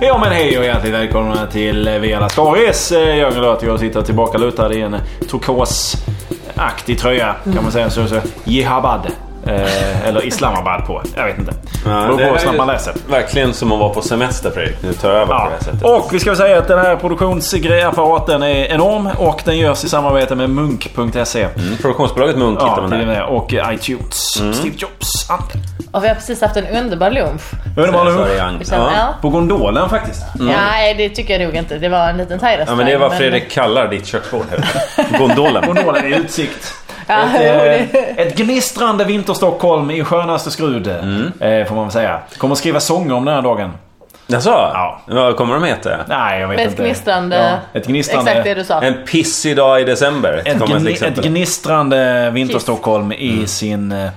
Ja men hej och hjärtligt välkomna till Vela Skaris. Eh, Jörgen Lötig och jag sitter tillbakalutad i en eh, turkosaktig tröja kan man säga. Så, så, Jihabad. Eh, eller Islamabad på. Jag vet inte. Det Ja, beror det på hur är snabbt man läser. Verkligen som att vara på semester Fredrik. Nu tar jag över på Ja. det här sättet. Och vi ska väl säga att den här produktionsapparaten är enorm och den görs i samarbete med munk.se. Mm, Produktionsbolaget Munk hittar Ja, man till och där. Mm. med. Och iTunes. Steve Jobs. Anten. Och vi har precis haft en underbar lunch. Underbar Så är det lunch. Young. Vi känner, Ja. ja. På Gondolen faktiskt. Nej, det tycker jag nog inte. Det var en liten thai Mm. ja, men det är vad Fredrik kallar ditt köksbord. här. Gondolen. Gondolen är utsikt. Ja, Ett, jo, eh, det- ett gnistrande vinterstockholm i skönaste skrud. Mm. Eh, får man väl säga. Kommer skriva sånger om den här dagen. Jaså? Ja. Vad kommer de heta? Nej, jag vet Med ett inte. gnistrande... Ja, ett gnistrande... Exakt det du sa. En pissig dag i december. Ett, kommer till gni, ett exempel. Mm. gnistrande vinterstockholm i sin eh,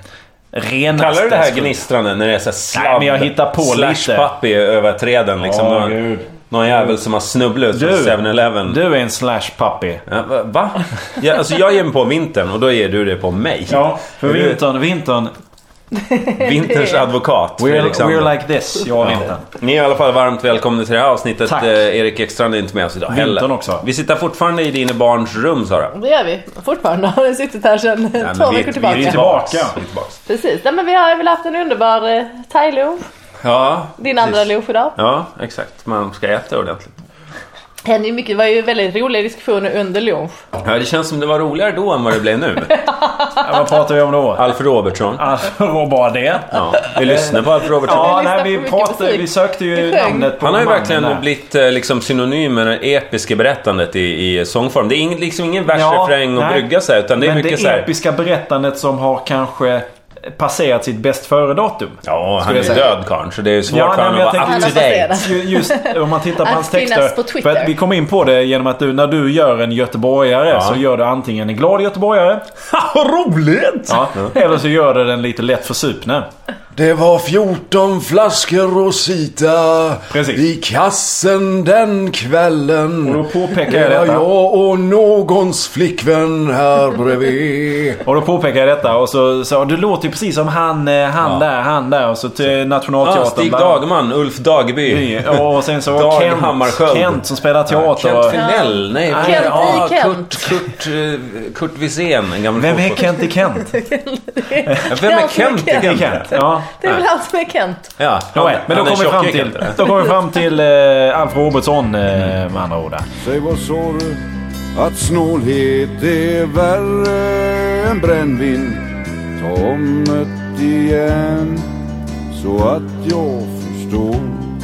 renaste Kallar du det här skrud. gnistrande när det är så här sladd, Nej, men jag hittar på slash lite. puppy över träden liksom? Ja, någon, gud. någon jävel som har snubblat ut från Du. 7-Eleven. Du är en slash puppy. Ja, va- va? Ja, alltså jag ger mig på vintern och då ger du det på mig. Ja, för Är du- vintern, vintern. Vinterns advokat We're, Fredrik Sandberg. we're like this, jag och vintern. Ni är i alla fall varmt välkomna till det här avsnittet. Tack. Eh, Erik Ekstrand är inte med oss idag Vintern heller. också. Vi sitter fortfarande i dina barns rum Sara. Det gör vi fortfarande. Har suttit här sedan Nej, men två vi- veckor Vi är tillbaka. tillbaks. Tillbaka. Vi är tillbaks. Precis. Nej, men vi har väl haft en underbar eh, thai-lunch. Ja, Din precis. andra lunch idag. Ja, exakt. Man ska äta ordentligt. Det hände ju mycket. Det var ju väldigt roliga diskussioner under lunch. Ja, det känns som det var roligare då än vad det blev nu. Ja, Vad pratar vi om då? Alf Robertsson. Alltså, vad bara det? Ja, vi lyssnar på Alf Robertsson. Ja, Vi lyssnar nej, på vi, mycket pratade, musik. vi sökte ju Vi sjöng. namnet på Han har ju mannen verkligen där. blivit eh, liksom, synonym med det episka berättandet i, i sångform. Det är ingen, liksom ingen versrefräng och nej. brygga så här, utan det är Men mycket det så här... episka berättandet som har kanske passerat sitt bäst före-datum. Ja, han Skulle är jag ju säga. död karln så det är svårt Ja, för nej, honom men jag att vara up tänker- to date. Ju- Just om man tittar på Att hans finnas texter. på Twitter. För att vi kom in på det genom att du, när du gör en göteborgare Ja. så gör du antingen en glad göteborgare. Vad roligt! Ja, eller så gör du den lite lätt försupne. Det var 14 flaskor Rosita Precis. i kassen den kvällen. Och då påpekar jag det var detta. jag och någons flickvän här bredvid. Och då påpekar jag detta och så sa du låter ju precis som han, eh, han där, han där. Och så till Nationalteatern. Ah, Stig bland- Dagman, Ulf Dageby. Och sen så var Dag Kent, Hammarskjöld. Kent som spelar teater. Kent Finell, nej. Kent nej, i ah, Kent. Kurt, Kurt, eh, Kurt Wisén, en gammal Vem är fotboll- Kent i Kent? Ja, Vem är Kent i Kent? Kent? Det är Kent. Ja. Det är väl allt som är Kent. Ja, Ja, men då han kommer är vi tjock fram i till, Kent, eller? då kommer vi fram till eh, Alf Robertson Mm. eh, med andra ord. där. Säg vad sa du? Att snålhet är värre än brännvin. Ta om det igen så att jag förstår. Men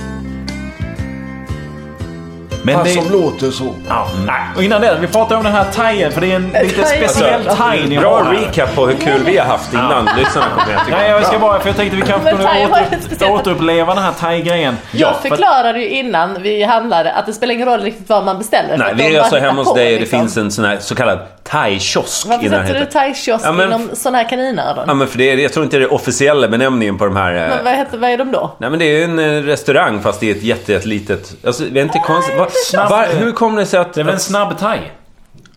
Han det, som låter så. ja, nej. Alltså, Och innan det, vi pratade om den här thaien för det är en lite Thaien. speciell thai ni Bra har. här. recap på hur kul vi har haft innan lyssnarna kom igen. tycker Nej, jag. jag ska bara, för jag tänkte vi kanske Men kunde thai var åter, ett speciellt- återuppleva den här thai-grejen. jag för att- förklarade ju innan vi handlade att det spelar ingen roll riktigt vad man beställer. för Nej, att de vi är bara alltså hittar hemma hos på, dig och det liksom. finns en sån här så kallad thai-kiosk i Varför sätter du närheten. thai-kiosk Ja, men- inom sådana här kaninöron? Ja men för det är, jag tror inte det är officiella benämningen på de här... eh, Men vad, heter, vad är de då? Nej men det är ju en eh, restaurang fast i ett jätte, jätte litet... Alltså det är inte konstigt... Va, snabbt. va, hur kommer det sig att... Det är väl en snabb thai?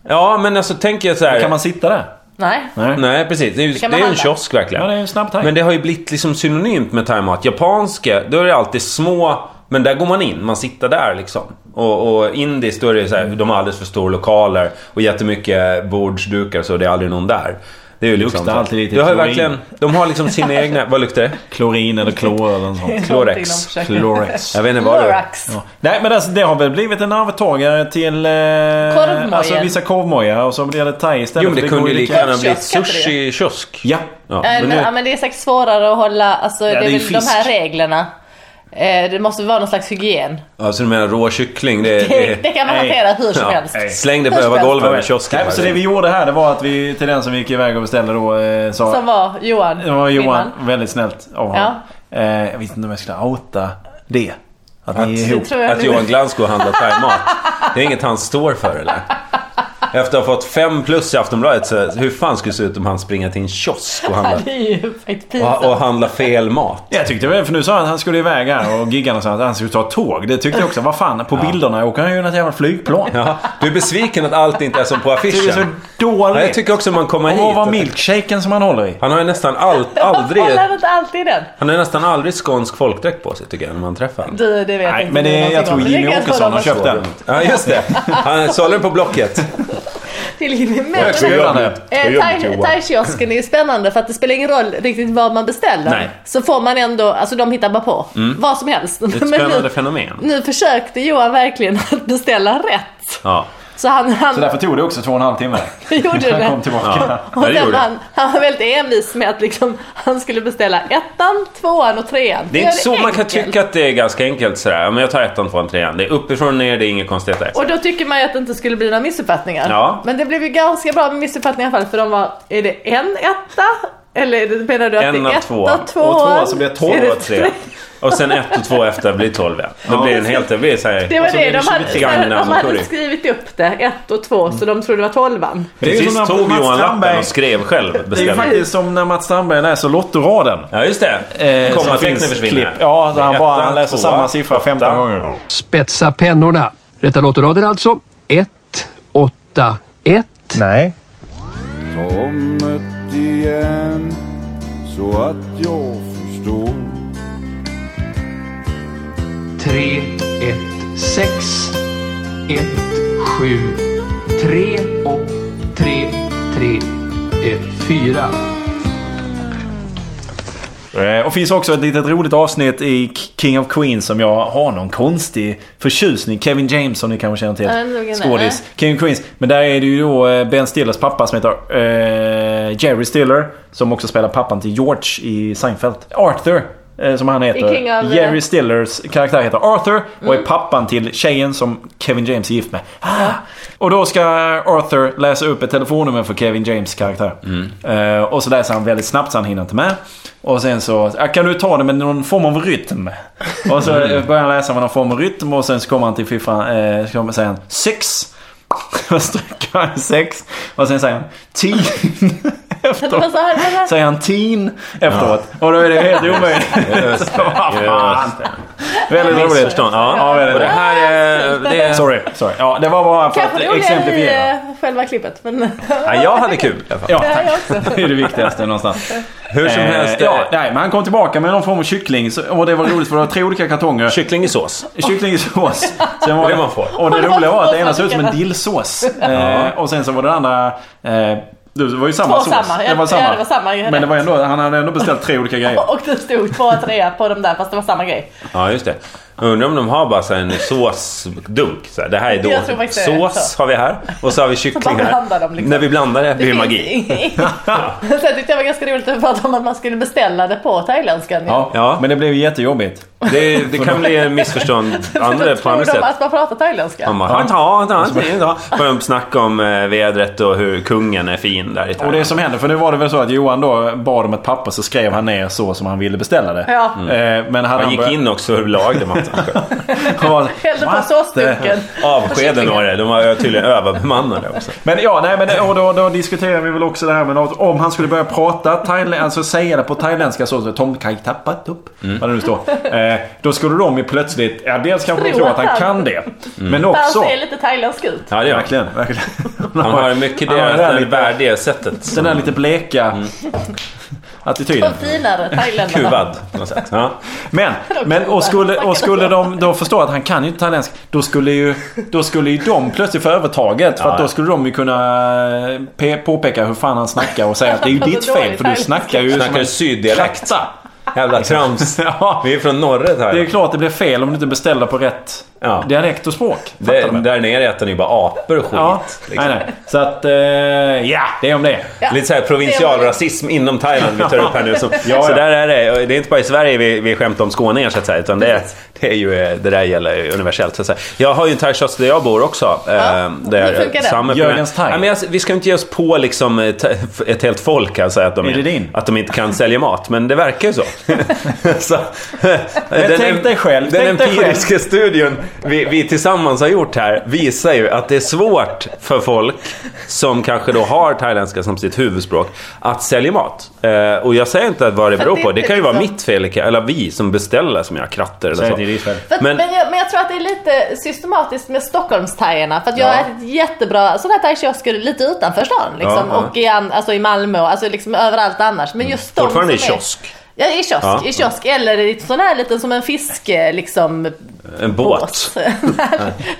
Ja men alltså tänker jag så här... Kan man sitta där? Nej. Nej. Nej precis, det är ju, det kan man är ju en handla. kiosk verkligen. Ja, det är en snabb thai. Men det har ju blivit liksom synonymt med thaimat. Japanska, då är det alltid små... Men där går man in, man sitter där liksom. Och, och indiskt, då är det så här, de har alldeles för stora lokaler och jättemycket bordsdukar så det är aldrig någon där. Det är ju liksom... Luktar alltid lite det har ju klorin. verkligen, de har liksom sina egna... Vad luktar det? Klorin eller klor eller något sånt. Någonting de Klorex. försöker- Klorex. Jag vet inte vad det är. Lorax. Ja. Nej men alltså, det har väl blivit en arvtagare till Korvmojen. eh, alltså, vissa korvmojar och så blir det thai istället. Jo men för det kunde går ju lika lika- gärna bli Kiosk heter det. sushi-kiosk. Ja. Ja, Äh, men men, nu- ja, men det är säkert svårare att hålla, alltså det är, det är ju väl de fisk. här reglerna. Eh, det måste vara någon slags hygien. Alltså du menar rå kyckling? Det, Det, det, det kan man nej. hantera hur som ja. helst. Släng det på Hur som helst. övergolvet med kiosken. Nej, men så det vi gjorde här det var att vi till den som vi gick iväg och beställde då eh, sa... Som var Johan. det var Johan. Lindman. Väldigt snällt av honom. Eh, jag visste inte om jag skulle outa det. Att ni är Det ihop. tror jag Att nu. Johan Glans går och handlar thaimat. Det är inget han står för eller? Efter att ha fått fem plus i Aftonbladet, så hur fan skulle det se ut om han springer till en kiosk och handlar, Det är ju faktiskt pinsamt. och, och handlar fel mat? Jag tyckte väl, för nu sa han att han skulle iväg här och gigga någonstans. Han skulle ta tåg. Det tyckte jag också. Vad fan, på bilderna åker han ju något jävla flygplan. Ja, du är besviken att allt inte är som på Det är så affischen. Ja, dåligt. jag tycker också man kommer hit. Och vad och- milkshaken som han håller i. Han har ju nästan all, aldrig... Håller han inte alltid den? Han har nästan aldrig skånsk folkdräkt på sig tycker jag när man träffar honom. Du, det vet Nej, inte men du det- någonting jag tror om. Det Jimmy kan jag Åkesson kolla om har jag köpt såg. den. Ja just det. Han sålde den på Blocket. Till Jimmy. Men, Jag tror men- jag det. Eh, Jag jobbar till thai- Johan. Thai-kiosken är ju spännande för att det spelar ingen roll riktigt vad man beställer. Nej. Mm. Så får man ändå, alltså de hittar bara på vad som helst. Det är ett spännande fenomen. nu försökte Johan verkligen att beställa rätt. Ja. Så han, han Så därför tog det också två och en halv timme. När gjorde han kom det. tillbaka. Ja. Och det sen gjorde var han. han, han var väldigt envis med att liksom, han skulle beställa ettan, tvåan och trean. Det är inte så man kan enkelt. tycka att det är ganska enkelt sådär. Ja, Men jag tar ettan, tvåan, trean. Det är uppifrån och ner, det är inget konstigt där. Och då tycker man ju att det inte skulle bli några missuppfattningar. Ja. Men det blev ju ganska bra med missuppfattningar i alla fall. För de var, är det en etta? Eller är det, menar du att En det och är två. etta, tvåan? Och tvåan så blir det tolv Är det och tre. Och sen ett och två efter blir tolv ja. Då Ja. blir det en helt... Det blir såhär... Det var och så det, blir de lite hade, grann de som curry. hade skrivit upp det, ett och två, så de trodde det var tolvan. Det är ju Till som sist när tog Mats Johan lappen Strandberg- och skrev själv Det är ju beställningen. faktiskt som när Mats Strandberg läser Lottoraden. Ja just det. Eh, som Kommatecknen finns försvinner. klipp. Ja, där han, bara, Etta, han läser tvåa, samma siffra 15 åtta. gånger. Spetsa pennorna. Rätta låtraden alltså. 1, 8, 1. Nej. Tommet igen så att jag förstår 3, 1, 6, 1, 7, 3 och 3, 3, 1, 4. Eh, Och finns också ett litet roligt avsnitt i K- King of Queens som jag har någon konstig förtjusning. Kevin James som ni kanske känner Ja, den såg till. jag. Skådis. King of Queens. Men där är det ju då eh, Ben Stillers pappa som heter eh, Jerry Stiller. Som också spelar pappan till George i Seinfeld. Arthur. eh, Som han heter. I King of- Jerry Stillers karaktär heter Arthur och Mm. är pappan till tjejen som Kevin James är gift med. Ah! Och då ska Arthur läsa upp ett telefonnummer för Kevin James karaktär. Eh, och så läser han väldigt snabbt så han hinner inte med. Och sen så, "Ah, kan du ta det med någon form av rytm? Och så börjar han läsa med någon form av rytm och sen så kommer han till fiffan, eh, så kommer- säger han sex. Och stryker han sex. Och sen säger han tio. Det var så här, det var så här. Säger han teen efteråt. Och då är det helt omöjligt. Så, vad fan. Väldigt roligt. Missförstånd. Ja, Ja, det är det. och det här är... Det är Sorry, sorry. Ja, det var bara för Kanske det att roliga i exemplifiera. eh, själva klippet. Men ja, jag hade kul i alla fall. Ja, det har jag tack. också. Det är det viktigaste någonstans. Hur som helst. Eh, ja, eh, nej, men han kom tillbaka med någon form av kyckling så- och det var roligt för det var tre olika kartonger. Kyckling i sås. Kyckling i sås. Sen var Det man får. Och det roliga var att det ena såg ut som en dillsås. Eh, och sen så var det andra... Eh, det var ju samma Två sås. samma. Ja, ja, det var samma. Men det var ändå, han hade ändå beställt tre olika grejer. Och det stod två och trea på de där, fast det var samma grej. Ja, just det. Undrar om de har bara så här en såsdunk. Så här. Det här är Jag tror då faktiskt det är sås så. har vi här och så har vi kyckling bara blandar här. de liksom. När vi blandar det blir det finns magi. ingenting. Sen tyckte jag det var ganska roligt att prata om att man skulle beställa det på thailändskan. Ja, Ja. men det blev ju jättejobbigt. Det, det kan bli missförstånd andra, på andra Tror sätt. de att man pratar thailändska? Han bara, han tar, han tar, han tar, han tar. Börjar de snacka om eh, vädret och hur kungen är fin där i Och det Thailand. som hände, för nu var det väl så att Johan då bad om ett papper så skrev han ner så som han ville beställa det. Ja. Eh, Men hade Han han gick börjat- in också och lagade mattan själv. Han var- Hällde på What the- såsduken. Avskeden var det. De var tydligen överbemannade också. Men ja, nej, men och då, då diskuterar vi väl också det här med något, om han skulle börja prata thailändska, alltså säga det på thailändska så som Tom Kai tappat upp, Mm. vad det nu står. Eh, då skulle de ju plötsligt, ja dels kanske de Tro tror att att han han- kan det. Mm. Men Han också... ser lite thailändsk ut. Ja, det gör han. Verkligen, verkligen. Han har mycket det, Han har det där det lite- värdiga sättet. Den där lite bleka Mm. attityden. De finare thailändarna. Kuvad på något sätt. Ja. Men, men och, skulle, och skulle de då förstå att han kan ju inte thailändsk då skulle ju, då skulle ju de plötsligt få övertaget. För att då skulle de ju kunna eh, pe- påpeka hur fan han snackar och säga att det är ju ditt fel för du snackar ju Snackar som en syddialekt. kräkta. Jävla trams. Ja, Vi är från norra det är Thailand. klart det blir fel om du inte beställer på rätt Ja. dialekt och språk. Fattar Det, du? där nere äter ni bara apor och skit. Ja, liksom. nej, nej. Så att, eh, ja, det är om det. Ja. Lite såhär provinsialrasism inom Thailand vi tar upp här nu. Som, Så där är det. Och Det är inte bara i Sverige vi, vi skämtar om skåningar så att säga. Utan det, är- det, är ju, eh, det där gäller ju universellt. Så att säga. Jag har ju en thaikiosk där jag bor också. eh, där, hur funkar det? samma problem. Jörgens Thai. Nej, men alltså, vi ska inte ge oss på liksom, eh, ta- ett helt folk här, så att, de, Är det din? att de inte kan sälja mat. Men det verkar ju så. så men tänk dig själv, Den tänk dig empiriska studien vi, vi tillsammans har gjort här visar ju att det är svårt för folk som kanske då har thailändska som sitt huvudspråk att sälja mat. Eh, och jag säger inte att vad det För beror det är på. Det inte kan ju vara liksom- mitt fel, eller vi som beställer som jag kratter eller Säg så. till ditt själv. För, men, Men- men, jag, men jag tror att det är lite systematiskt med Stockholmstajerna. För att jag Ja. har ätit jättebra sådana här thaikiosker lite utanför stan. Liksom, Ja, ja. Och i, an- alltså, i Malmö och alltså, liksom, överallt annars. Men just de Fortfarande i som är- kiosk. Ja, i kiosk. Ja. I kiosk. Eller i sån här liten som en fisk, eh, liksom, En båt. båt.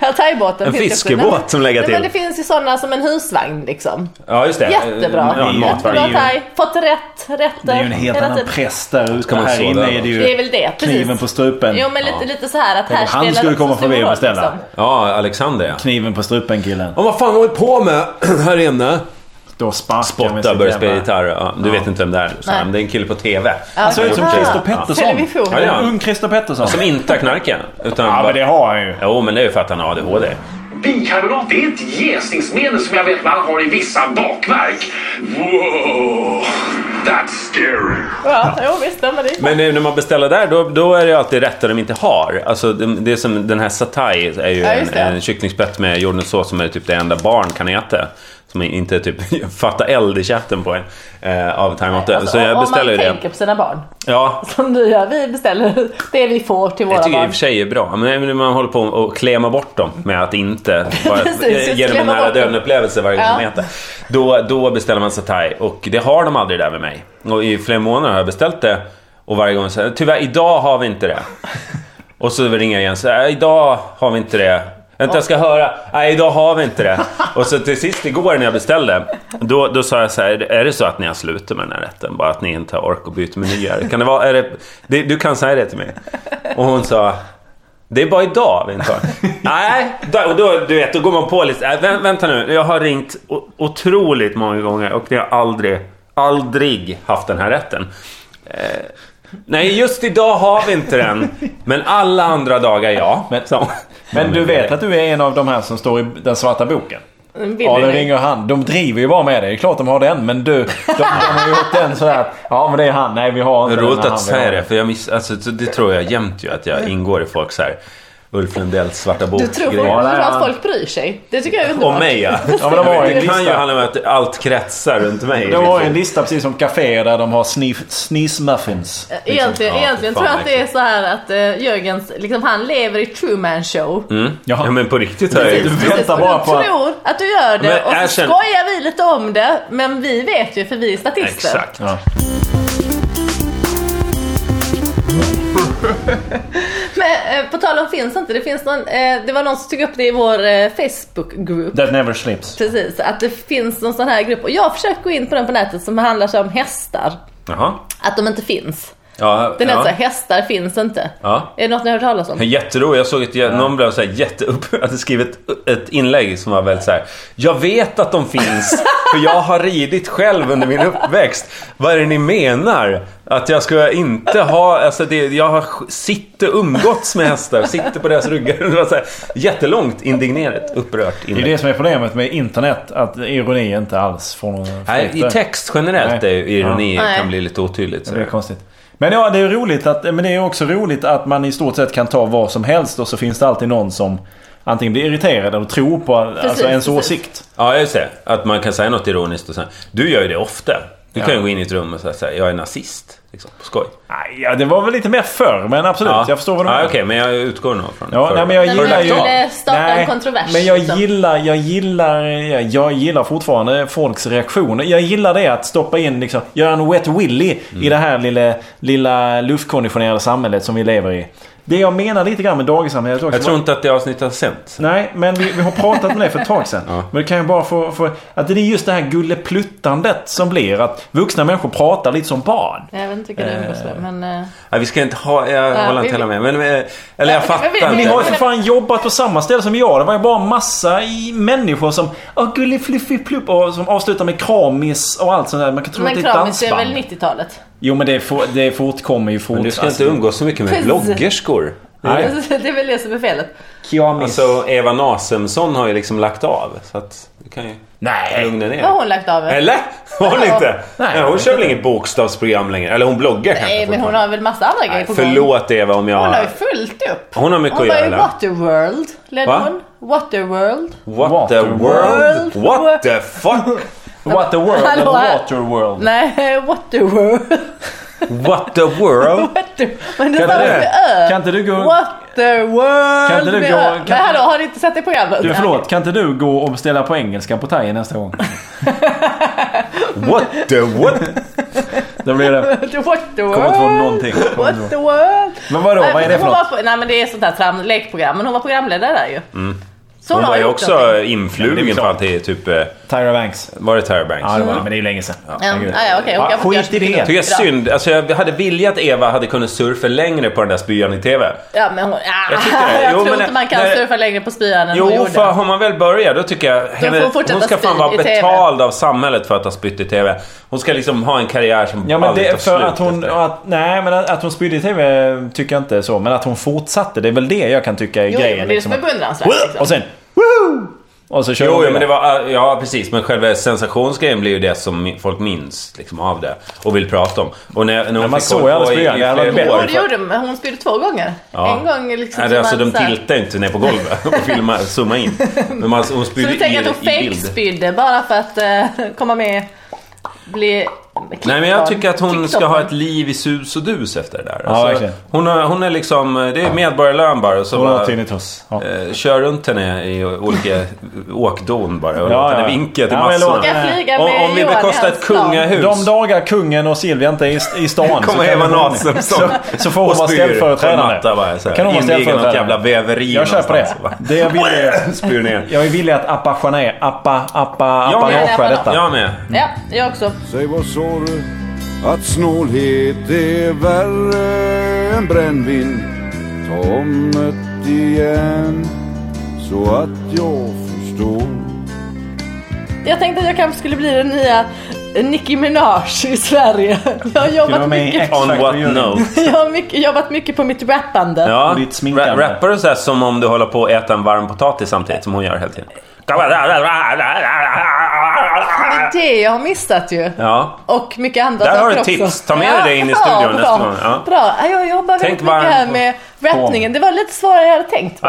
ja, thaibåten. En finns ju också. fiskebåt Nej, men- som lägger nej, Men till. det finns ju sådana som en husvagn liksom. Ja, just Eh, det. Jättebra. Ja, en matvagn. det är Jättebra ju- thai. Fått rätt rätter. Det är ju en helt hela annan tiden. press där ute. man Här så inne där? är det ju Det är väl det, precis. kniven på strupen. Jo men lite, lite så här att här om han spelar skulle det också komma stor förbi och roll, beställa. liksom. Ja, Alexander ja. Kniven på strupen killen. Ja, vad fan håller vi på med här inne? Då sparkar jag med Spotta sitt börjar spela jävla- gitarr. Ja, du vet inte vem det är Nej. Sam. Det är en kille på TV. Han ser ut som Ja. Christer Television. Pettersson. Ja, ja. Alltså, En ung Christer Pettersson. Som inte har knarkat. Utan Ja bara- men det har han ju. Jo, men det är ju för att han har ADHD. Bikarbonat är ett jäsningsmedel som jag vet man har i vissa bakverk. Wow, that's scary. Ja, jo visst. Den var det. Men eh, när man beställer där, då, då är det ju alltid rätter de inte har. Alltså, det, det är som den här satay är ju Ja, just en, det. en kycklingspett med jordnötssås som är typ det enda barn kan äta. Som inte typ fattar eld i käften på en eh, av thaimaten. Alltså, så jag om- beställer ju Om man det. tänker på sina barn. Ja, Som du gör. Vi beställer det vi får till Jag våra tycker i och barn. för sig är bra, men när man håller på och klämma bort dem med att inte bara Precis, eh, just genom en klämma nära bort dem. döden-upplevelse varje gång Ja. man äter. Då, då beställer man satay och det har de aldrig där med mig. Och i flera månader har jag beställt det och varje gång säger jag, tyvärr idag har vi inte det. Och så ringer jag igen så här, idag har vi inte det. Vänta jag ska höra, nej idag har vi inte det. Och så till sist igår när jag beställde, då, då sa jag så här, är det så att ni har slutat med den här rätten? Bara att ni inte har ork att byta menyer? Kan det vara, är det, det, du kan säga det till mig. Och hon sa, det är bara idag vi inte har. Nej, då, och då, du vet, då går man på lite, äh, vä- vänta nu, jag har ringt o- otroligt många gånger och jag har aldrig, aldrig haft den här rätten. Eh, Nej, just idag har vi inte den. Men alla andra dagar ja. Men- Så- Men du vet att du är en av de här som står i den svarta boken? Vill Ja, du det det? ringer han. De driver ju bara med det. Det är klart de har den, men du. De, de har gjort den sådär att... Ja, men det är han. Nej, vi har inte den. Roligt Han, att vi har säga det, den. för jag miss, alltså, så det tror jag jämt ju att Mm. jag ingår i folk så här. Ulf Lundells svarta bok Du tror, grejer. folk, du tror ja. att folk bryr sig. Det tycker jag är underbart. Om mig ja. Ja, men de har ju det en kan ju lista. handla om att allt kretsar runt mig. De har ju en lista precis som café där de har sniff, sneeze muffins. Egentligen, Ja, egentligen fan, tror jag att det är så här att uh, Jörgens, liksom, han lever i True Man show. Mm. Ja. Ja men på riktigt har jag ju... Precis. väntar Och bara du på att- tror att du gör det Men och så erkänn- skojar vi lite om det. Men vi vet ju för vi är statister. Exakt. Ja. Men eh, på tal om finns inte, det finns någon, eh, det var någon som tog upp det i vår eh, Facebookgrupp. That never slips. Precis, att det finns någon sån här grupp. Och jag har försökt gå in på den på nätet som handlar sig om hästar. Jaha. Att de inte finns. Ja, Den alltså- heter ja. så här, hästar finns inte. Ja. Är det något ni har hört talas om? Jätteroligt. Jag såg att någon blev så här jätteupp... Hade skrivit ett inlägg som var väldigt så här. Jag vet att de finns, för jag har ridit själv under min uppväxt. Vad är det ni menar? Att jag ska inte ha... Alltså det, jag har sj- sitter umgåtts med hästar, sitter på deras ryggar. Det var så här, jättelångt indignerat, upprört Det är inlägg. det som är problemet med internet. Att ironi inte alls får någon Nej, i effekt. text generellt är ju ironi Ja. kan Nej. bli lite otydligt. Så. Det är konstigt. Men ja, det är roligt att, men det är också roligt att man i stort sett kan ta vad som helst och så finns det alltid någon som antingen blir irriterad eller tror på alltså, ens precis. åsikt. Ja, just det. Att man kan säga något ironiskt och sen... Du gör ju det ofta. Du kan ju gå in i ett rum och säga så här, jag är nazist. Liksom, på skoj. Nej, ja, det var väl lite mer förr, men absolut. Jag förstår vad du ja, menar. Okej, men jag utgår nog från Ja, för- nej, men jag Men gillar man ju... ville starta en kontrovers, men jag liksom. gillar, jag gillar, jag gillar fortfarande folks reaktioner. Jag gillar det att stoppa in liksom, göra en wet willy i det här lilla, lilla luftkonditionerade samhället som vi lever i. Det jag menar lite grann med dagissamhället också. Jag tror inte att det avsnittet har sänts. Nej, men vi, vi har pratat om det för ett tag sedan. Men det kan ju bara få, få... Att det är just det här gullepluttandet som blir. Att vuxna människor pratar lite som barn. Jag vet inte vilka det är med men... eh, Nej, vi ska inte ha... Jag Nej, håller inte vi- heller med. Men, eh, eller jag men fattar vi- Ni vi- har ju inte. för fan jobbat på samma ställe som jag. Det var ju bara massa i människor som... Åh, gullifluffiplupp. Och som avslutar med kramis och allt sånt där. Man kan tro att Men det är ett kramis är väl dansband. 90-talet? Jo, men det, for, det fortkommer ju fort. Alltså, Men du ska inte umgås så mycket med Precis. bloggerskor. Nej. det är väl det som är felet. Kramis. Alltså, Eva Nasemson har ju liksom lagt av. Så att, det kan ju... Nej. Lugna ner Vad har hon lagt av med? Eller? Har hon Ja. inte? Nej, Nej, hon kör väl inget bokstavsprogram längre? Eller hon bloggar kanske Nej, men hon fortfarande. har väl massa andra grejer Nej, på gång. Förlåt Eva om Hon har ju jag... fullt upp. Hon har mycket hon att var ju göra. Waterworld, ledde Va? hon. Waterworld. What the world? Waterworld. What the fuck? What the world eller Hallå, här. water world? Nej, Waterworld. What the world? Water... Men det Kan stavas du- med ö. Kan inte du gå... Waterworld Kan inte du med gå- ö. kan- Men hallå, har ni inte sett det programmet? Du, förlåt, kan inte du gå och beställa på engelska på Thai nästa gång? What the what? Då blir det... Waterworld. Kommer inte få någonting. Kommer inte få- Waterworld. Men vadå, vad är det för hon något? var, Nej men det är sånt där tram, lekprogram. Men hon var programledare där ju. Mm. Så Hon har var ju gjort också någonting. Ja, det är influgen klart. fram till typ... eh, Tyra Banks. Var det Tyra Banks? Ja, det var det. Men det är ju länge sedan. Mm, Herregud. ja, ja, okej, hon Ja, kan få Skit i göra- det. Tycker jag Bra. synd. Alltså jag hade viljat att Eva hade kunnat surfa längre på den där spyan i TV. Ja men hon... Ah, jag, Jag tycker det. Jo, tror men- inte man kan nej. surfa längre på spyan än hon Jo, gjorde. för har man väl börjat då tycker jag... får Henne, fortsätta hon ska fan spy vara i TV. betald av samhället för att ha spytt i TV. Hon ska liksom ha en karriär som Ja men aldrig det, tar för slut att hon... efter. Att, nej men att, att hon spydde i TV tycker jag inte så. Men att hon fortsatte, det är väl det jag kan tycka är Jo, grejen. jo, men det är liksom. som är beundransvärt. Liksom. Och sen... Woo! Och så kör Jo, hon jo, men det vidare. var, ah, ja precis. Men själva sensationsgrejen blir ju det som mi- folk minns liksom, av det. Och vill prata om. Och när, när hon man fick såg hålla alla på i- spyan, i det hade varit flera bättre. år Hon för- gjorde men hon spydde två gånger. Ja. En gång liksom... Nej, så det, alltså, man de så här- tiltar ju inte ner på golvet och filmar, zoomar in. Men man, hon Så spydde du i, tänker att hon i bild. fejkspydde bara för att eh, komma med? Bli... Nej men jag tycker att hon ska TikTok. ha ett liv i sus och dus efter det där. Alltså, verkligen. hon, har, hon är liksom, det är medborgarlön bara. och Så Hon har bara, tydligt oss. Ja. eh, kör runt henne i olika åkdon bara och Ja, låt ja. henne vinka till Ja, men massorna. låt henne- Ska jag flyga med Om, om vi Johan i bekostar hans ett plan? kungahus. De dagar kungen och Silvia inte är i, i stan Kommer kan Eva hon- Naseem så, så får hon vara ställföreträdande. Kan Kan hon hon vara Inviga något ställföreträdare? jävla väveri Jag köper det. någonstans, va? Det jag vill är... Spyr ner. Jag är villig att appa Jeanette, appa, appa, Jag appa med. Norsjö detta. Jag med. Ja, jag också. Säg vad sa du? Att snålhet är värre än brännvin Ta om det igen Så att jag förstår Jag tänkte att jag kanske skulle bli den nya Nicki Minaj i Sverige. Jag har Skulle vara jobbat, med i mycket, X- On Exakt, what vad gör du? note? jag har mycket, jobbat mycket på mitt rappande. Ja, Och ditt sminkande. ra- rappar du så här som om du håller på att äta en varm potatis samtidigt som hon gör hela tiden? Det är det jag har missat ju. Ja. Och mycket andra Där har du saker tips. också. Ta med dig det in i studion bra. nästa gång. Ja. Bra. Ja, Jag jobbar Tänk väldigt mycket här varmt Ah, med rappningen. Det var lite svårare än jag hade tänkt.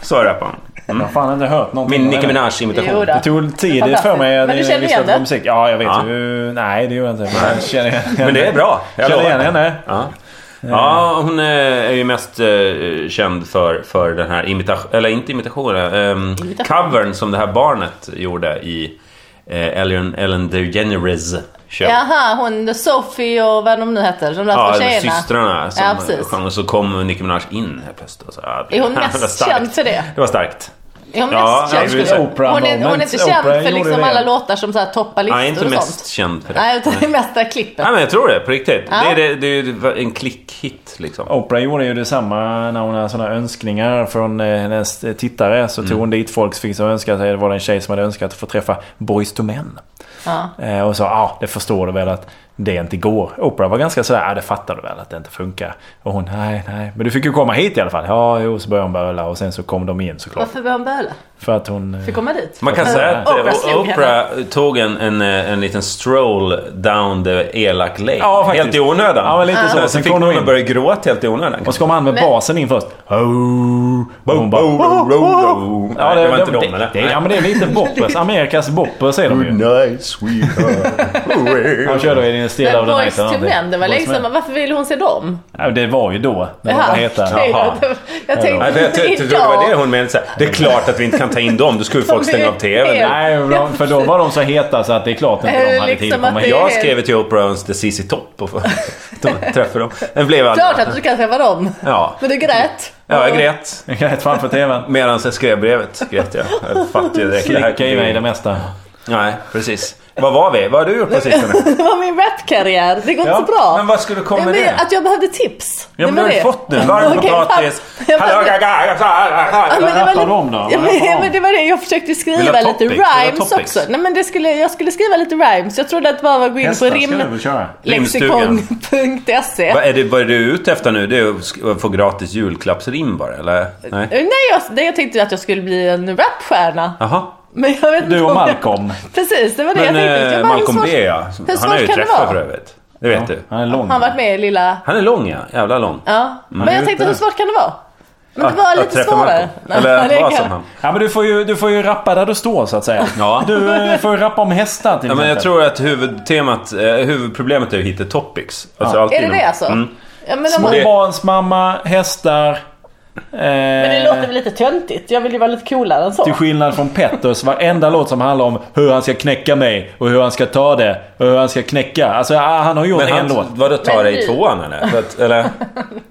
Så rappar hon. Mm. Jag har fan inte hört någonting. Min om Nicki henne. Minaj-imitation. Jo då. Det tog tid för mig att Men du känner lyssna igen på det? musik. Ja, jag vet Ja. ju. Nej, det gör jag inte. Men, jag känner igen henne. Men det är bra. Jag Känner lovar. igen henne. Ja. Ja, hon eh, är ju mest eh, känd för, för den här imitationen, eller inte imitationen, um, Imitation. covern som det här barnet gjorde i eh, Ellen, Ellen DeGeneres show. Jaha, hon Sophie och vad de nu heter. De där Ja, två eller tjejerna. systrarna som Ja, precis. sjöng och så kom Nicki Minaj in här plötsligt. och Så, ja, Är hon det var mest starkt. känd för det? Det var starkt. Är hon Ja, mest nej, känd det är för det? Oprah Hon är, hon är inte moments. känd Oprah för gjorde liksom det. alla låtar som så här toppar listor Nej, inte och mest sånt. känd för det. Nej, utan det är mest där klippet. Nej, men jag tror det, på riktigt. Ja. Det, är, det, det är ju en klickhit liksom. Oprah gjorde ju detsamma när hon hade sådana önskningar från eh, hennes tittare. Så Mm. tog hon dit folk som fick som önskat sig. Det var en tjej som hade önskat att få träffa Boys to Men. Ja. Eh, Och sa ja, ah, det förstår du väl att det inte går. Oprah var ganska sådär, ah, det fattar du väl att det inte funkar. Och hon, nej, nej. Men du fick ju komma hit i alla fall. Ja, jo, så började hon böla och sen så kom de in såklart. Varför började hon böla? För att hon... eh, Fick komma dit? Man kan För säga att eh, Oprah slog henne. Oprah tog en, en, eh, en liten stroll down the elak lane. Ja, faktiskt. helt i onödan. Ja, men lite så. Sen, Sen fick kom hon hon in. att börja gråta helt i onödan. Och så kom han med Men- basen in först. Oh, och hon bara, oh, oh, oh, oh. Ja, Nej, det var inte dem, eller? Mm. det- Ja, men det är lite boppers. Amerikas boppers är de ju. Night sweetheart. Han körde i en Still Men of the Night. Boys eller to någonting. Men, det var liksom Boyz to Men. länge sedan. Men Varför ville hon se dem? Ja, det var ju då. När de var Jaha, heta. okej, Jaha. jag- Jag Nej, tänkte jag inte tror jag tror det var det idag. hon menade. Så här, det är klart att vi inte kan ta in dem. Då skulle ju folk De är stänga av TVn. helt- Nej, de- för då var de så heta så att det är klart inte de Eller hade tid liksom på att mig. det- Jag skrev till Oprah Owens The ZZ Top och de träffade dem. Den blev aldrig... Klart att du kan träffa dem. Ja. Men du grät. Ja, jag grät. Jag grät framför TVn. Medan jag skrev brevet grät jag. Jag fattade ju direkt. det här Klicka kan i ju- mig det mesta. Nej, precis. Vad var vi? Vad har du gjort på sistone? Det var min rapkarriär. Det går Ja, inte så bra. men vad skulle du komma Nej, men med det? Att jag behövde tips. Ja men det har du fått nu. Varm Okej, potatis. fan. Jag Hallå, bara- gaga, gaga, Ja, gaga. men det var rappar lite- de då? Ja, Vad rappar men, de? men det var det. Jag försökte Vill du skriva ha lite topics? Vill du ha rhymes topics? också. Nej, men det skulle, jag skulle skriva lite rhymes. Jag trodde att bara var att gå in på Hästar ska du rim... väl köra? Rimstugan. Lexikon.se Vad är, det, vad är du ute efter nu? Det är att sk- att få gratis julklappsrim bara, eller? Nej? Eh, Nej, jag, nej, jag tänkte att jag skulle bli en rapstjärna. Jaha. Men jag vet inte Du och om jag- Malcolm. Precis, det var det Men jag tänkte. eh, Jag bara, hur Malcolm svårt- B ja. hur Han har svårt ju kan det träffat vara? för övrigt. Det vet du. Han är lång. Han har varit med i lilla... Han är lång ja. Jävla lång. Ja. Men jag just tänkte, det. hur svårt kan det vara? Men det Att- var att lite träffa svårare. Malcolm. Nej, Eller det att vara kan- som han. Ja, men du, får ju, du får ju rappa där du står så att säga. Ja. Du eh, får ju rappa om hästar till Ja, men jag exempel. tror att huvudtemat, eh, huvudproblemet är att hitta topics. Alltså alltid Är det någon- det alltså? Mm. Ja, men, om man, men Småbarnsmamma, hästar. det Eh, låter väl lite töntigt? Jag vill ju vara lite coolare än så. till skillnad från Petters varenda låt som handlar om hur han ska knäcka mig och hur han ska ta det och hur han ska knäcka. Alltså ah, han har gjort Men en han, låt. vadå tar Men dig i du- tvåan eller? För att, eller?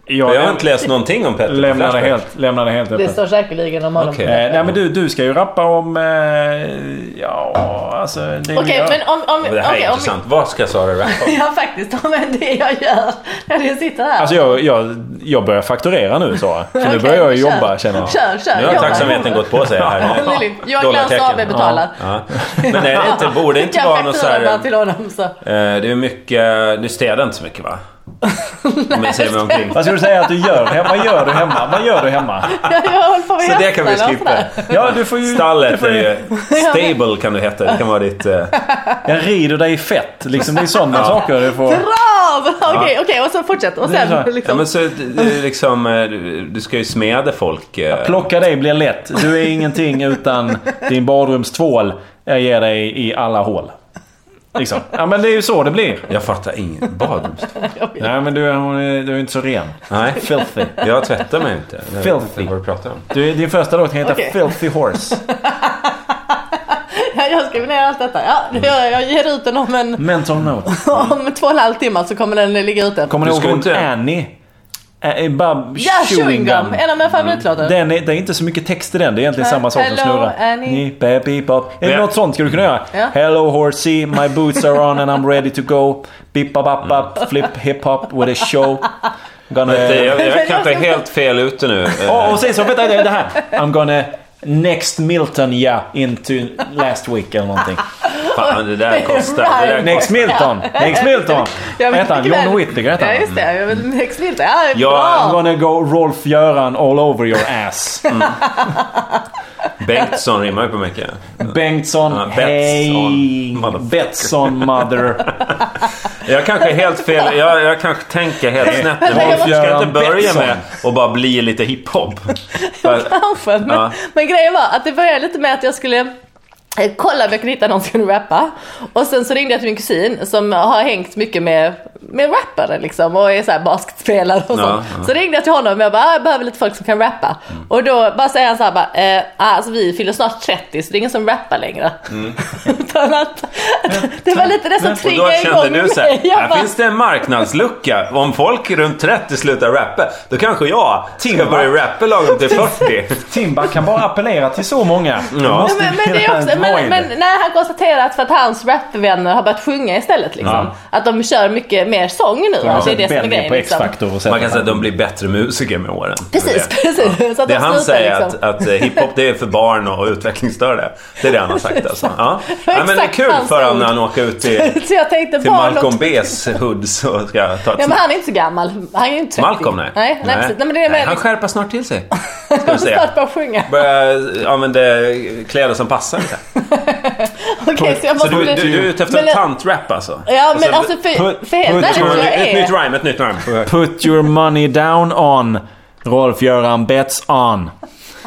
Jag, Jag har inte läst någonting om Petter. på lämnar det Flashback. helt, lämnar det helt Det öppet. står säkerligen om honom. Okej. Eh, nej men du, du ska ju rappa om... Eh, ja, alltså... det är- Okej, men om... om, Men Det här okej, är om- intressant. Vad ska Sara rappa om? Ja faktiskt, men det jag gör när jag sitter här. Alltså jag, jag, jag börjar fakturera nu Sara. Så nu Okej, börjar jag kör. jobba känner jag. Kör, kör. Nu har jobba. tacksamheten gått på sig här. Lilly, Johan Glans Dollartecken. AB betalar. Ja. Men är det inte, borde det inte Skicka vara något så fakturan här... bara till honom så. eh, Det är mycket... Du städar inte så mycket va? Om jag ser mig omkring. Vad skulle du säga att du gör hemma? Vad gör du hemma? Vad gör du hemma? Jag, jag håller på med Så det kan vi hästarna och skippa. sådär. Ja, du får ju... du Stallet får är ju ju... Stable kan du heta. Det kan vara ditt... eh, jag rider dig i fett. Liksom, det är sådana saker du får... Brav! Okej, okej, och så fortsätt. Och Det är så. sen Ja liksom. men så eh, liksom... eh, du- Du ska ju smeda folk. eh, Plocka dig blir lätt. Du är ingenting utan din badrumstvål. Jag ger dig i alla hål. Liksom. Ja men det är ju så det blir. Jag fattar inget. Badrumstvål? Nej men du, är- du är inte så ren. Nej. Filthy. Jag tvättar mig inte. Jag vet Filthy. inte Vad du pratar om. Du, din första låt heter Okej. Filthy Horse. Jag skriver ner allt detta. Ja, jag, jag ger ut den om en... Mental note. Mm. Om två och en halv timme så kommer den ligga ute. Kommer Du ni ihåg ska hon inte- Annie? Ä- Bab Ja, Chewing Gum! En av Mm. mina favoritlåtar. Den är, det är inte så mycket text i den. Det är egentligen samma sak som Hello, snurrar. Annie. Ni, baby, bop. Är det Ja. något sånt skulle du kunna göra? Ja. Hello horsey, my boots are on and I'm ready to go. Bip bop up, Mm. up flip hip hop with a show. Gonna... Det- Jag, jag Men är jag kanske ska- helt fel ute nu. Eh, Åh, och sen så, vänta, det är det här. I'm gonna next Milton yeah into last week eller någonting. Fan, det där kostar. Det där Next Milton! Next Milton! Jag vet Hette han? mycket väl- John Whittaker hette Ja han. just det, jag vet Next Milton. Ja, Ja, I'm bra! gonna go Rolf-Göran all over your ass. Bengtsson rimmar ju på mycket. Mm. Bengtsson, Ja, Betsson, hej! motherfucker. Betsson, mother. Jag kanske är helt fel. Jag, jag kanske tänker helt snett nu. Rolf Jag ska Göran inte börja Bengtsson. med att bara bli lite hiphop. Kanske, men, Ja. men grejen var att det började lite med att jag skulle eh, kolla om jag kunde hitta någon som kunde rappa. Och sen så ringde jag till min kusin som har hängt mycket med, med rappare liksom och är så här basketspelare och sånt. Ja, ja. Så ringde jag till honom och jag bara, ah, jag behöver lite folk som kan rappa. Och då bara säger han så här bara, eh, ah, alltså vi fyller snart 30 så det är ingen som rappar längre. Utan att, det var lite det som Mm. Och då triggade igång kände du så här, mig. Jag här bara, finns det en marknadslucka. Om folk runt 30 slutar rappa, då kanske jag ska börja rappa lagom till 40. Timba kan bara appellera till så många. Du Ja, måste men, men, det är hela också, tiden vara i men, det. men när han konstaterar att för att hans rapvänner har börjat sjunga istället liksom. Ja. Att de kör mycket mer sång nu. att det är det som är Benny grejen. på Liksom. X-Factor och sätter Man kan säga att sig. de blir bättre musiker med åren. Precis, Det. precis. Så att Det de han slutar, säger liksom. att, att eh, hiphop det är för barn och utvecklingsstörda. Det är det han har sagt alltså. Ja. var Ja, men det är exakt kul hans för honom ord. när han åker ut till, Så jag tänkte till barn Malcolm och... B's hood så ska jag ta ett Ja, men snack. han är inte så gammal. Han är ju inte 30. Malcolm nej. Nej, nej, precis. nej men det är Han med. skärper snart till sig. Ska vi Han se. snart börjar sjunga. Börja använda kläder som passar. Så, här. Okej, så jag så måste du, bli... du, du är ute efter Men- en tantrap alltså? Ja, men Alltså, alltså för, put- för helt put ärligt your- vad jag Ett nytt är... rhyme, ett nytt rhyme. Put your money down on Rolf-Göran Betsson.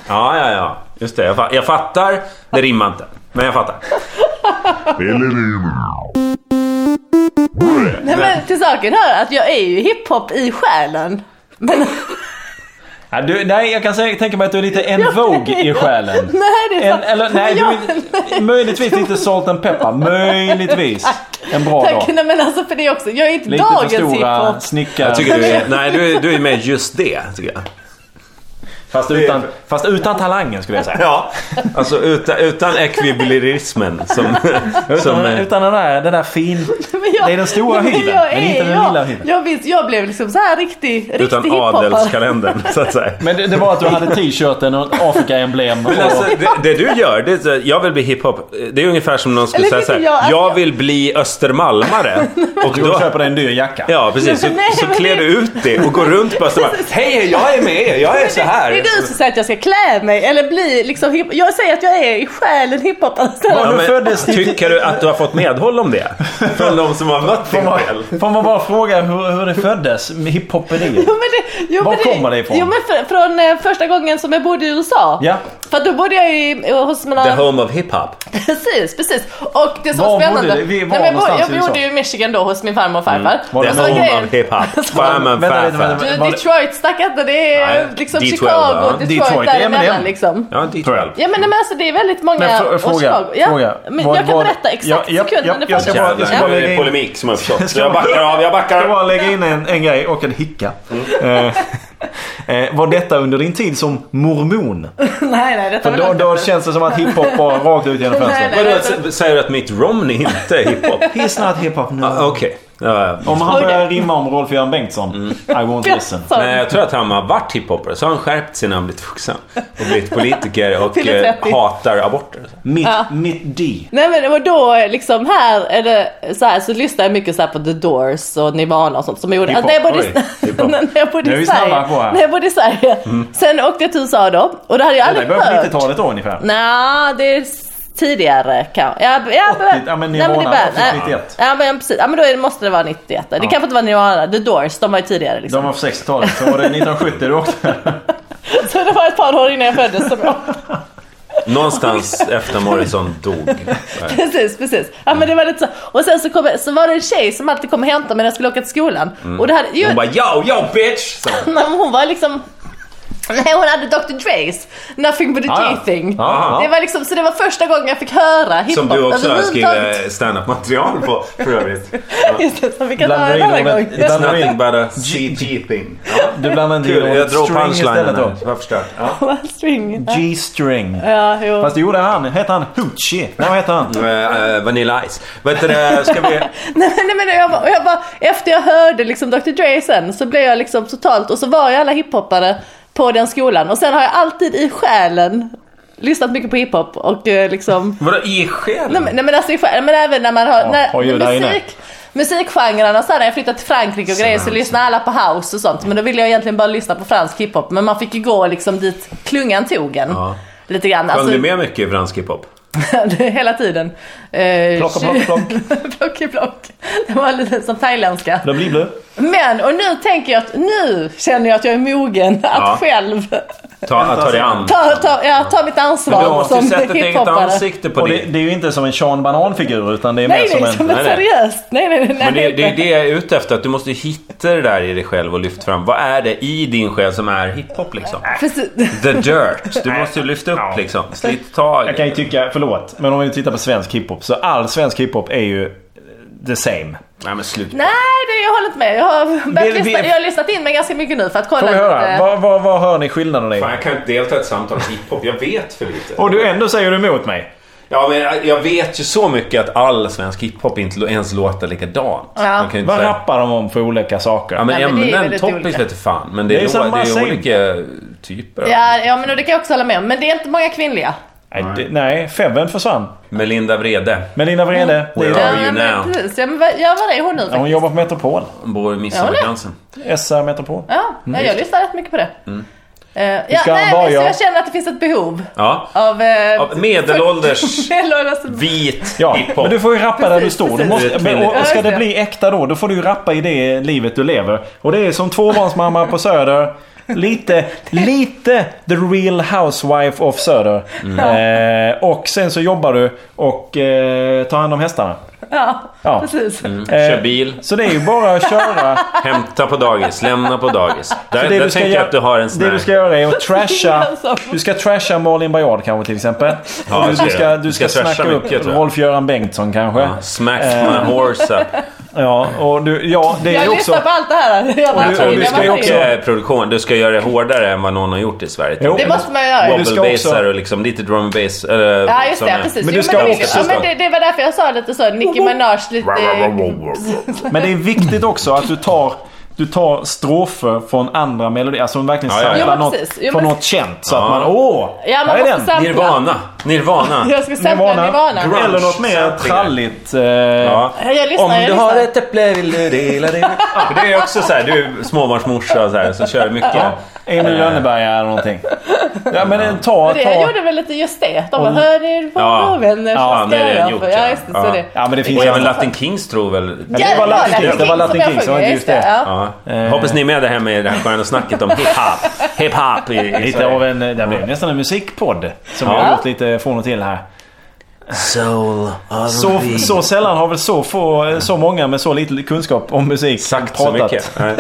Ja, ja, ja. Just det. Jag, fa- jag fattar. Det rimmar inte. Men jag fattar. Nej, men till saken hör att jag är ju hiphop i själen. Men... Ja, du, nej, jag kan säga, tänka mig att du är lite en Vogue i själen. Nej, det En, är sant. eller nej, du, är- möjligtvis lite salt and pepper. Möjligtvis. En bra Tack, dag. nej men alltså för det också. Jag är inte Lite för dagens hiphop. stora snickare. Jag tycker du är... Nej, du är, du är med just det, tycker jag. Fast utan, fast utan talangen skulle jag säga. Ja, alltså utan, utan ekvilibrianismen som... som Utan, eh, utan den där, den där fin... Men jag- Det är den stora men hyven, jag men är- inte den jag- lilla hyven. Jag, visst, jag blev liksom så här riktig, riktig alltså. utan hiphoppare. adelskalendern, så att säga. Men det, det var att du hade t-shirten och ett Afrika-emblem. Men och- alltså, det, det du gör, det är, så här, jag vill bli hiphop. Det är ungefär som någon skulle Eller säga tycker såhär, jag att- jag, vill bli östermalmare. Och Du då, köper dig en dyr jacka. ja, precis. Så, Nej, så men klär det- du ut det och går runt på Östermalm. Hej, jag är med er, jag är så här. Det är du som säger att jag ska klä mig eller bli liksom hip- Jag säger att jag är i själen alltså. hiphopare. Ja, Du men, föddes- tycker du att du har fått medhåll om det? Från de som har mött din själ? Får man bara fråga hur, hur det föddes? med Hiphoperiet? Jo, men det, jo, Var men kommer det ifrån? Jo, men för, från eh, första gången som jag bodde i USA. Ja. För att då bodde jag ju eh, hos mina... The home of hiphop. Precis, precis. Och det som Var var bodde spännande... du? Vi var Nej, men jag, bo- någonstans jag i USA. Mm. bodde ju i Michigan då hos min farmor och farfar. Var The det Och så var home grejen- of hiphop. Farmen Vänta, vänta, vänta, farfar. vänta. Du, Var det- Detroit stackarna, det är Nej, liksom D12, Chicago, ja. Detroit, Detroit, ja, men det- däremellan liksom. Ja, dit själv. Ja men, nej, men alltså det är väldigt många... Men frå- och fråga, Chicago. ja, fråga. Men Var- jag kan var- berätta exakt Ja, ja, sekunden ja, det jag ska bara- fanns. jag ska Ja. bara- Jävlar, nu är det polemik som har uppstått. Så jag backar av, jag Jag backar bara av. lägga in en, en grej och en hicka. Eh, eh, var detta under din tid som mormon? Nej nej, För detta var då, långt då efter. känns det som att hiphop var rakt ut genom fönstret. Nej, Vadå, nej. s- säger du att Mitt Romney inte är hiphop? He's not hiphop no. Ah, Okej. Ja, ja. Om han Okej. börjar rimma om Rolf-Göran Bengtsson, I won't listen. Så. Nej, jag tror att han har varit hiphopare, så har han skärpt sig när han blivit vuxen. Och blivit politiker och Fyller eh, 30. hatar aborter. Mitt, mitt D. Nej men och då liksom här, är det, så här så lyssnade jag mycket så här på The Doors och Nirvana och sånt som jag gjorde. Alltså, när jag bodde, i- Oj, hiphop. när jag bodde Nu är i vi Sverige. snabbare på här. Mm. När jag bodde i Sverige. Sen åkte jag till USA då och då hade jag Det där aldrig börjar på hört. 90-talet då ungefär. Nej, det är s- tidigare kanske. Ja, b- ja, 80, ja, men Nirvana är början. var typ 91. Ja men precis, ja, men då är det- måste det vara 91. Det kanske inte var Nirvana, The Doors, de var ju tidigare liksom. De var på 60-talet, så var det 1970 du åkte. Så det var ett par år innan jag föddes som jag Någonstans efter Morrison dog. Eh, Nej. Precis, precis. Ja, men det var lite så. Och sen så, kom, så var det en tjej som alltid kom och hämtade mig när jag skulle åka till skolan. Mm. Och det hade, ju, Hon bara yo, yo bitch! Så. Nej, men hon var liksom... Nej, hon hade Dr. Dre's Nothing but a Ah, ja. G-thing. Aha. Det var liksom, så det var första gången jag fick höra hiphop Som Alltså, du också har överhuvudtaget. skrivit stand-up material på för övrigt. Just det, som vi kan ta Blandar en in annan ordet- gång. It's nothing but a CG thing. Ja, Du blandade inte in kul, jag ordet drog string punchlinen istället här. då. Jag har förstört. Ja. String. G-string. Ja, jo. Fast det gjorde han. Hette han Hoochie? Nej, vad hette han? Eh, eh, Vanilla Ice. Vad heter det, ska vi... Nej, men- nej men jag bara, och jag bara, efter jag hörde liksom Dr. Dre sen så blev jag liksom totalt, och så var ju alla hiphoppare på den skolan. Och sen har jag alltid i själen lyssnat mycket på hiphop och eh, liksom... Vadå i själen? Nej men, nej, men alltså i själen, men även när man har... när, oj, när där inne. musik, musikgenrerna så här, när jag flyttade till Frankrike och grejer så lyssnade alla på house och sånt. Men då ville jag egentligen bara lyssna på fransk hiphop. Men man fick ju gå liksom dit klungan tog en. Ja. Lite grann. Sjöng Alltså, du med mycket i fransk hiphop? hela tiden. Eh, Plocka, plocka, plock. plock i plock. Det var lite som thailändska. Det blir blö. Men, och nu tänker jag att nu känner jag att jag är mogen att Ja. själv Ta, ta dig an. ta, ta, ja, ta mitt ansvar Du måste ju som sätta ett eget hiphoppare. ansikte på Och det. det, det är ju inte som en Sean Banan-figur utan det är Nej, mer nej, som en... som ett Nej, nej. seriöst. Nej, nej, nej. Men det, det är nej. det jag är ute efter, att du måste hitta det där i dig själv och lyfta fram. Vad är det i din själ som är hiphop liksom? Precis. The dirt. Du måste ju lyfta Ja. upp liksom. Slit tag. Jag kan ju tycka, förlåt, men om vi tittar på svensk hiphop så all svensk hiphop är ju eh, the same. Nej men sluta. Nej, det, jag håller inte med. Jag har, börjat Vi- vi- lyssna, jag har lyssnat in mig ganska mycket nu för att kolla. Får vi höra? lite. Vad, vad, vad hör ni skillnaden i? Fan, jag kan inte delta i ett samtal om hiphop. Jag vet för lite. Och du ändå säger du emot mig. Ja, men jag- jag vet ju så mycket att all svensk hiphop inte lo- ens låter likadant. Ja. Man kan ju inte Vad säga... rappar de om för olika saker? Ja men Nej, men det är ämnen, väldigt topics olika. vete fan. Men det är, Det är lo- samma det är same. olika typer. Ja, ja, men och det kan jag också hålla med om. Men det är inte många kvinnliga. nej, det, nej, Febben försvann. Melinda Vrede. Melinda Vrede, det är Where Ja, are det. you men now? precis. Ja, men vad- ja, var är hon nu? Ja, Hon jobbar på Metropol. Hon bor i Midsommarkransen. SR Metropol. Ja, ja, jag lyssnar rätt mycket på det. Eh, ja, Mm. ska nej, vara men, så jag. jag känner att det finns ett behov Ja. av... Eh, Av medelålders medelålders- vit Ja, hiphop. men du får ju rappa där du står. Du precis. måste, Det är men, och, och ska kvinnligt. det bli äkta då, då får du ju rappa i det livet du lever. Och det är som tvåbarnsmamma på Söder. Lite, lite the real housewife of Söder. Mm. Eh, och sen så jobbar du och eh, tar hand om hästarna. Ja, Ja. precis. Mm. Eh. Kör bil. Så det är ju bara att köra. Hämta på dagis, lämna på dagis. Där, där tänker jag göra- att du har en sån det här... du ska göra är att trasha. Gemensam. Du ska trasha Malin Baryard kanske till exempel. Ja, Och du, det du är ska, det. du Du ska ska trasha snacka upp mycket, tror jag. Eh. Rolf-Göran Bengtsson kanske. Smack my horse up. Ja, och du, ja det är ju Jag också... lyssnar på allt det här. Jag Och bara, du- och "Oj, du det ska ju var också- fel." Eh, Produktion, du ska göra det hårdare än vad någon har gjort i Sverige. Jo. Det måste man ju göra. du ska Wobble-basar också- och liksom lite drum and bass. eh, Ja just som det, är- precis. Men jo, du ska men det, också- ja, men det, det var därför jag sa lite så, Nicki Minaj lite... Men det är viktigt också att du tar, du tar strofer från andra melodier. Alltså verkligen Ja, ja, samlar ja. Jo, men något precis. Jo, från men- något känt. Så Ja. att man, åh! Ja, man här måste är den! samla. Nirvana. Nirvana. Jag ska sampla Nirvana. Grunge. Eller något mer tralligt. Eh, Ja. Jag lyssnar, Om jag du lyssnar. har ett äpple vill du dela det. För det är också så här, du är småbarnsmorsa och så här, så kör du mycket. Emil Lönneberga eller någonting. Ja men eh, ta, Det jag ta. gjorde väl lite just det. De bara, hör er våra Ja. vänner. så Ja, ska det är jag det jag göra." gjort, Ja, ja. just det. Ja. Så det. Ja men det finns Och ju även andra- Latin Kings tror väl... det var Latin Kings, det var Latin som jag Kings, det var sjunger, just det. Ja. Ja. Hoppas ni är med det här med det här sköna snacket om hiphop. Hiphop i, i Lite av Sverige. en, eh, det blev nästan en musikpodd. Som Ja. vi har gjort lite från och till här. Soul of Så, the- så sällan har väl så, få, så många med så lite kunskap om musik Exakt så mycket. Nej. Eh,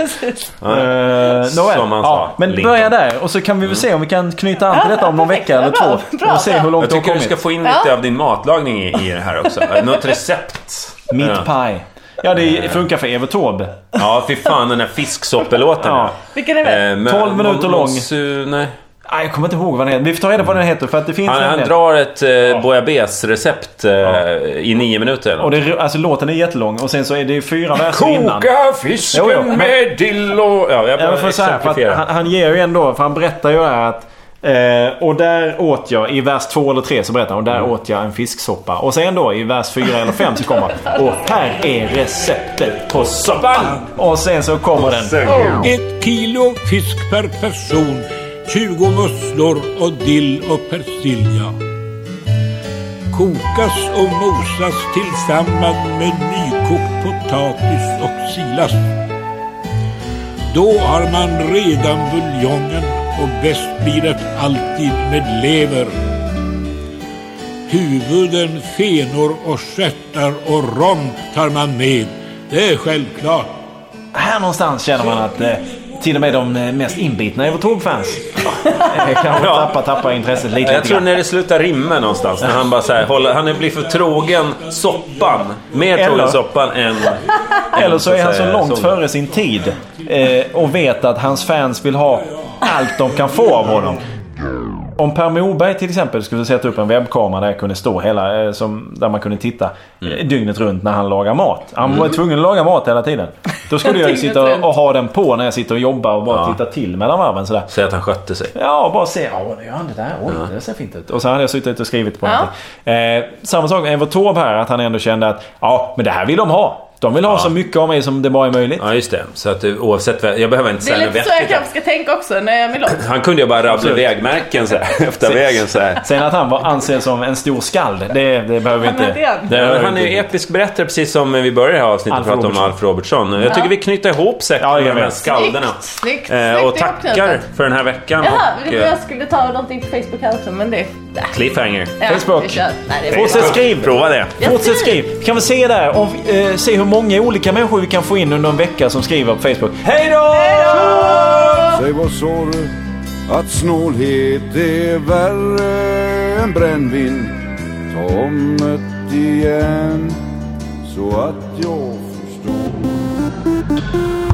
nåväl. Som han ja, sa, men Lincoln. börja där och så kan vi väl se om vi kan knyta an till detta om någon perfekt. vecka eller Ja, bra, två. bra, och se bra. hur långt Jag du har tycker du kommit. ska få in lite av din matlagning i, i det här också. Något recept. Meat pie. Ja, Eh. det funkar för Evert Taube. Ja, fy fan den här fisksoppelåten. Eh, Ja. Vilken är det? 12 minuter lång. Nej. Nej, jag kommer inte ihåg vad den heter. Vi får ta reda på vad den heter för att det finns Han, han nämligen- drar ett eh, bouillabaisse-recept eh, i nio minuter. Eller? Och det, är- alltså, låten är jättelång och sen så är det ju fyra verser innan. Ah, Koka fisken Jo, jo, men- med dill och... Ja, jag Ja, bara men för så här, för exemplifierar. att han, han ger ju ändå, för han berättar ju här att eh, och där åt jag, i vers två eller tre så berättar han, och Mm. där åt jag en fisksoppa. Och sen då i vers fyra eller fem så kommer han, och här är receptet på soppan. Och sen så kommer den. Ett kilo fisk per person, 20 musslor och dill och persilja. Kokas och mosas tillsammans med nykokt potatis och silas. Då har man redan buljongen och bäst blir det alltid med lever. Huvuden, fenor och stjärtar och rom tar man med. Det är självklart. Här någonstans känner man att eh, till och med de eh, mest inbitna Evert Taube-fans eh, kanske tappar, tappar intresset lite. Jag lite tror grann. när det slutar rimma någonstans, när han bara så här, håller, han blir för trogen soppan. Mer Eller- trogen soppan än... Eller så är han så säga, långt sången. före sin tid eh, och vet att hans fans vill ha allt de kan få av honom. Om Per Morberg till exempel skulle sätta upp en webbkamera där jag kunde stå hela, eh, som, där man kunde titta eh, dygnet runt när han lagar mat. Han var tvungen att laga mat hela tiden. Då skulle jag ju Dygnet sitta runt. och ha den på när jag sitter och jobbar och bara titta till mellan varven sådär. Säg att han skötte sig. Ja, bara se. Ja, nu gör han det där. Oj, det ser fint ut. Och så hade jag suttit och skrivit på Ja. någonting. Eh, samma sak med Evert Taube här, att han ändå kände att ja, men det här vill de ha. De vill ha så mycket av mig som det bara är möjligt. Ja, just det. Så att du, oavsett vad, Jag behöver inte Det är säga något lite så jag vettigt. kanske ska tänka också när jag är med låt. Han kunde ju bara rabbla vägmärken så här, efter vägen så här. Sen att han var ansedd som en stor skald, det, det behöver vi Han inte... hade en. Det Ja, behöver men han är vi ju inte. episk berättare precis som vi började det här avsnittet Alf prata om Robertson. Alf Robertson. Jag tycker vi knyter ihop säcken Ja, jag med de här vet. skalderna. Snyggt, snyggt, Eh, och snyggt tackar ihopknutet. för den här veckan. Jaha, och, eh, jag skulle ta någonting på Facebook här också men det... cliffhanger. Ja, Facebook. vi kör. Nej, det är Fortsätt bra. skriv! Prova det. Jag Fortsätt skriver. skriv! Kan vi se där, om, eh, se hur många olika människor vi kan få in under en vecka som skriver på Facebook. Hej då! Säg vad sa du? Att snålhet är värre än brännvin Ta om det igen Så att jag förstår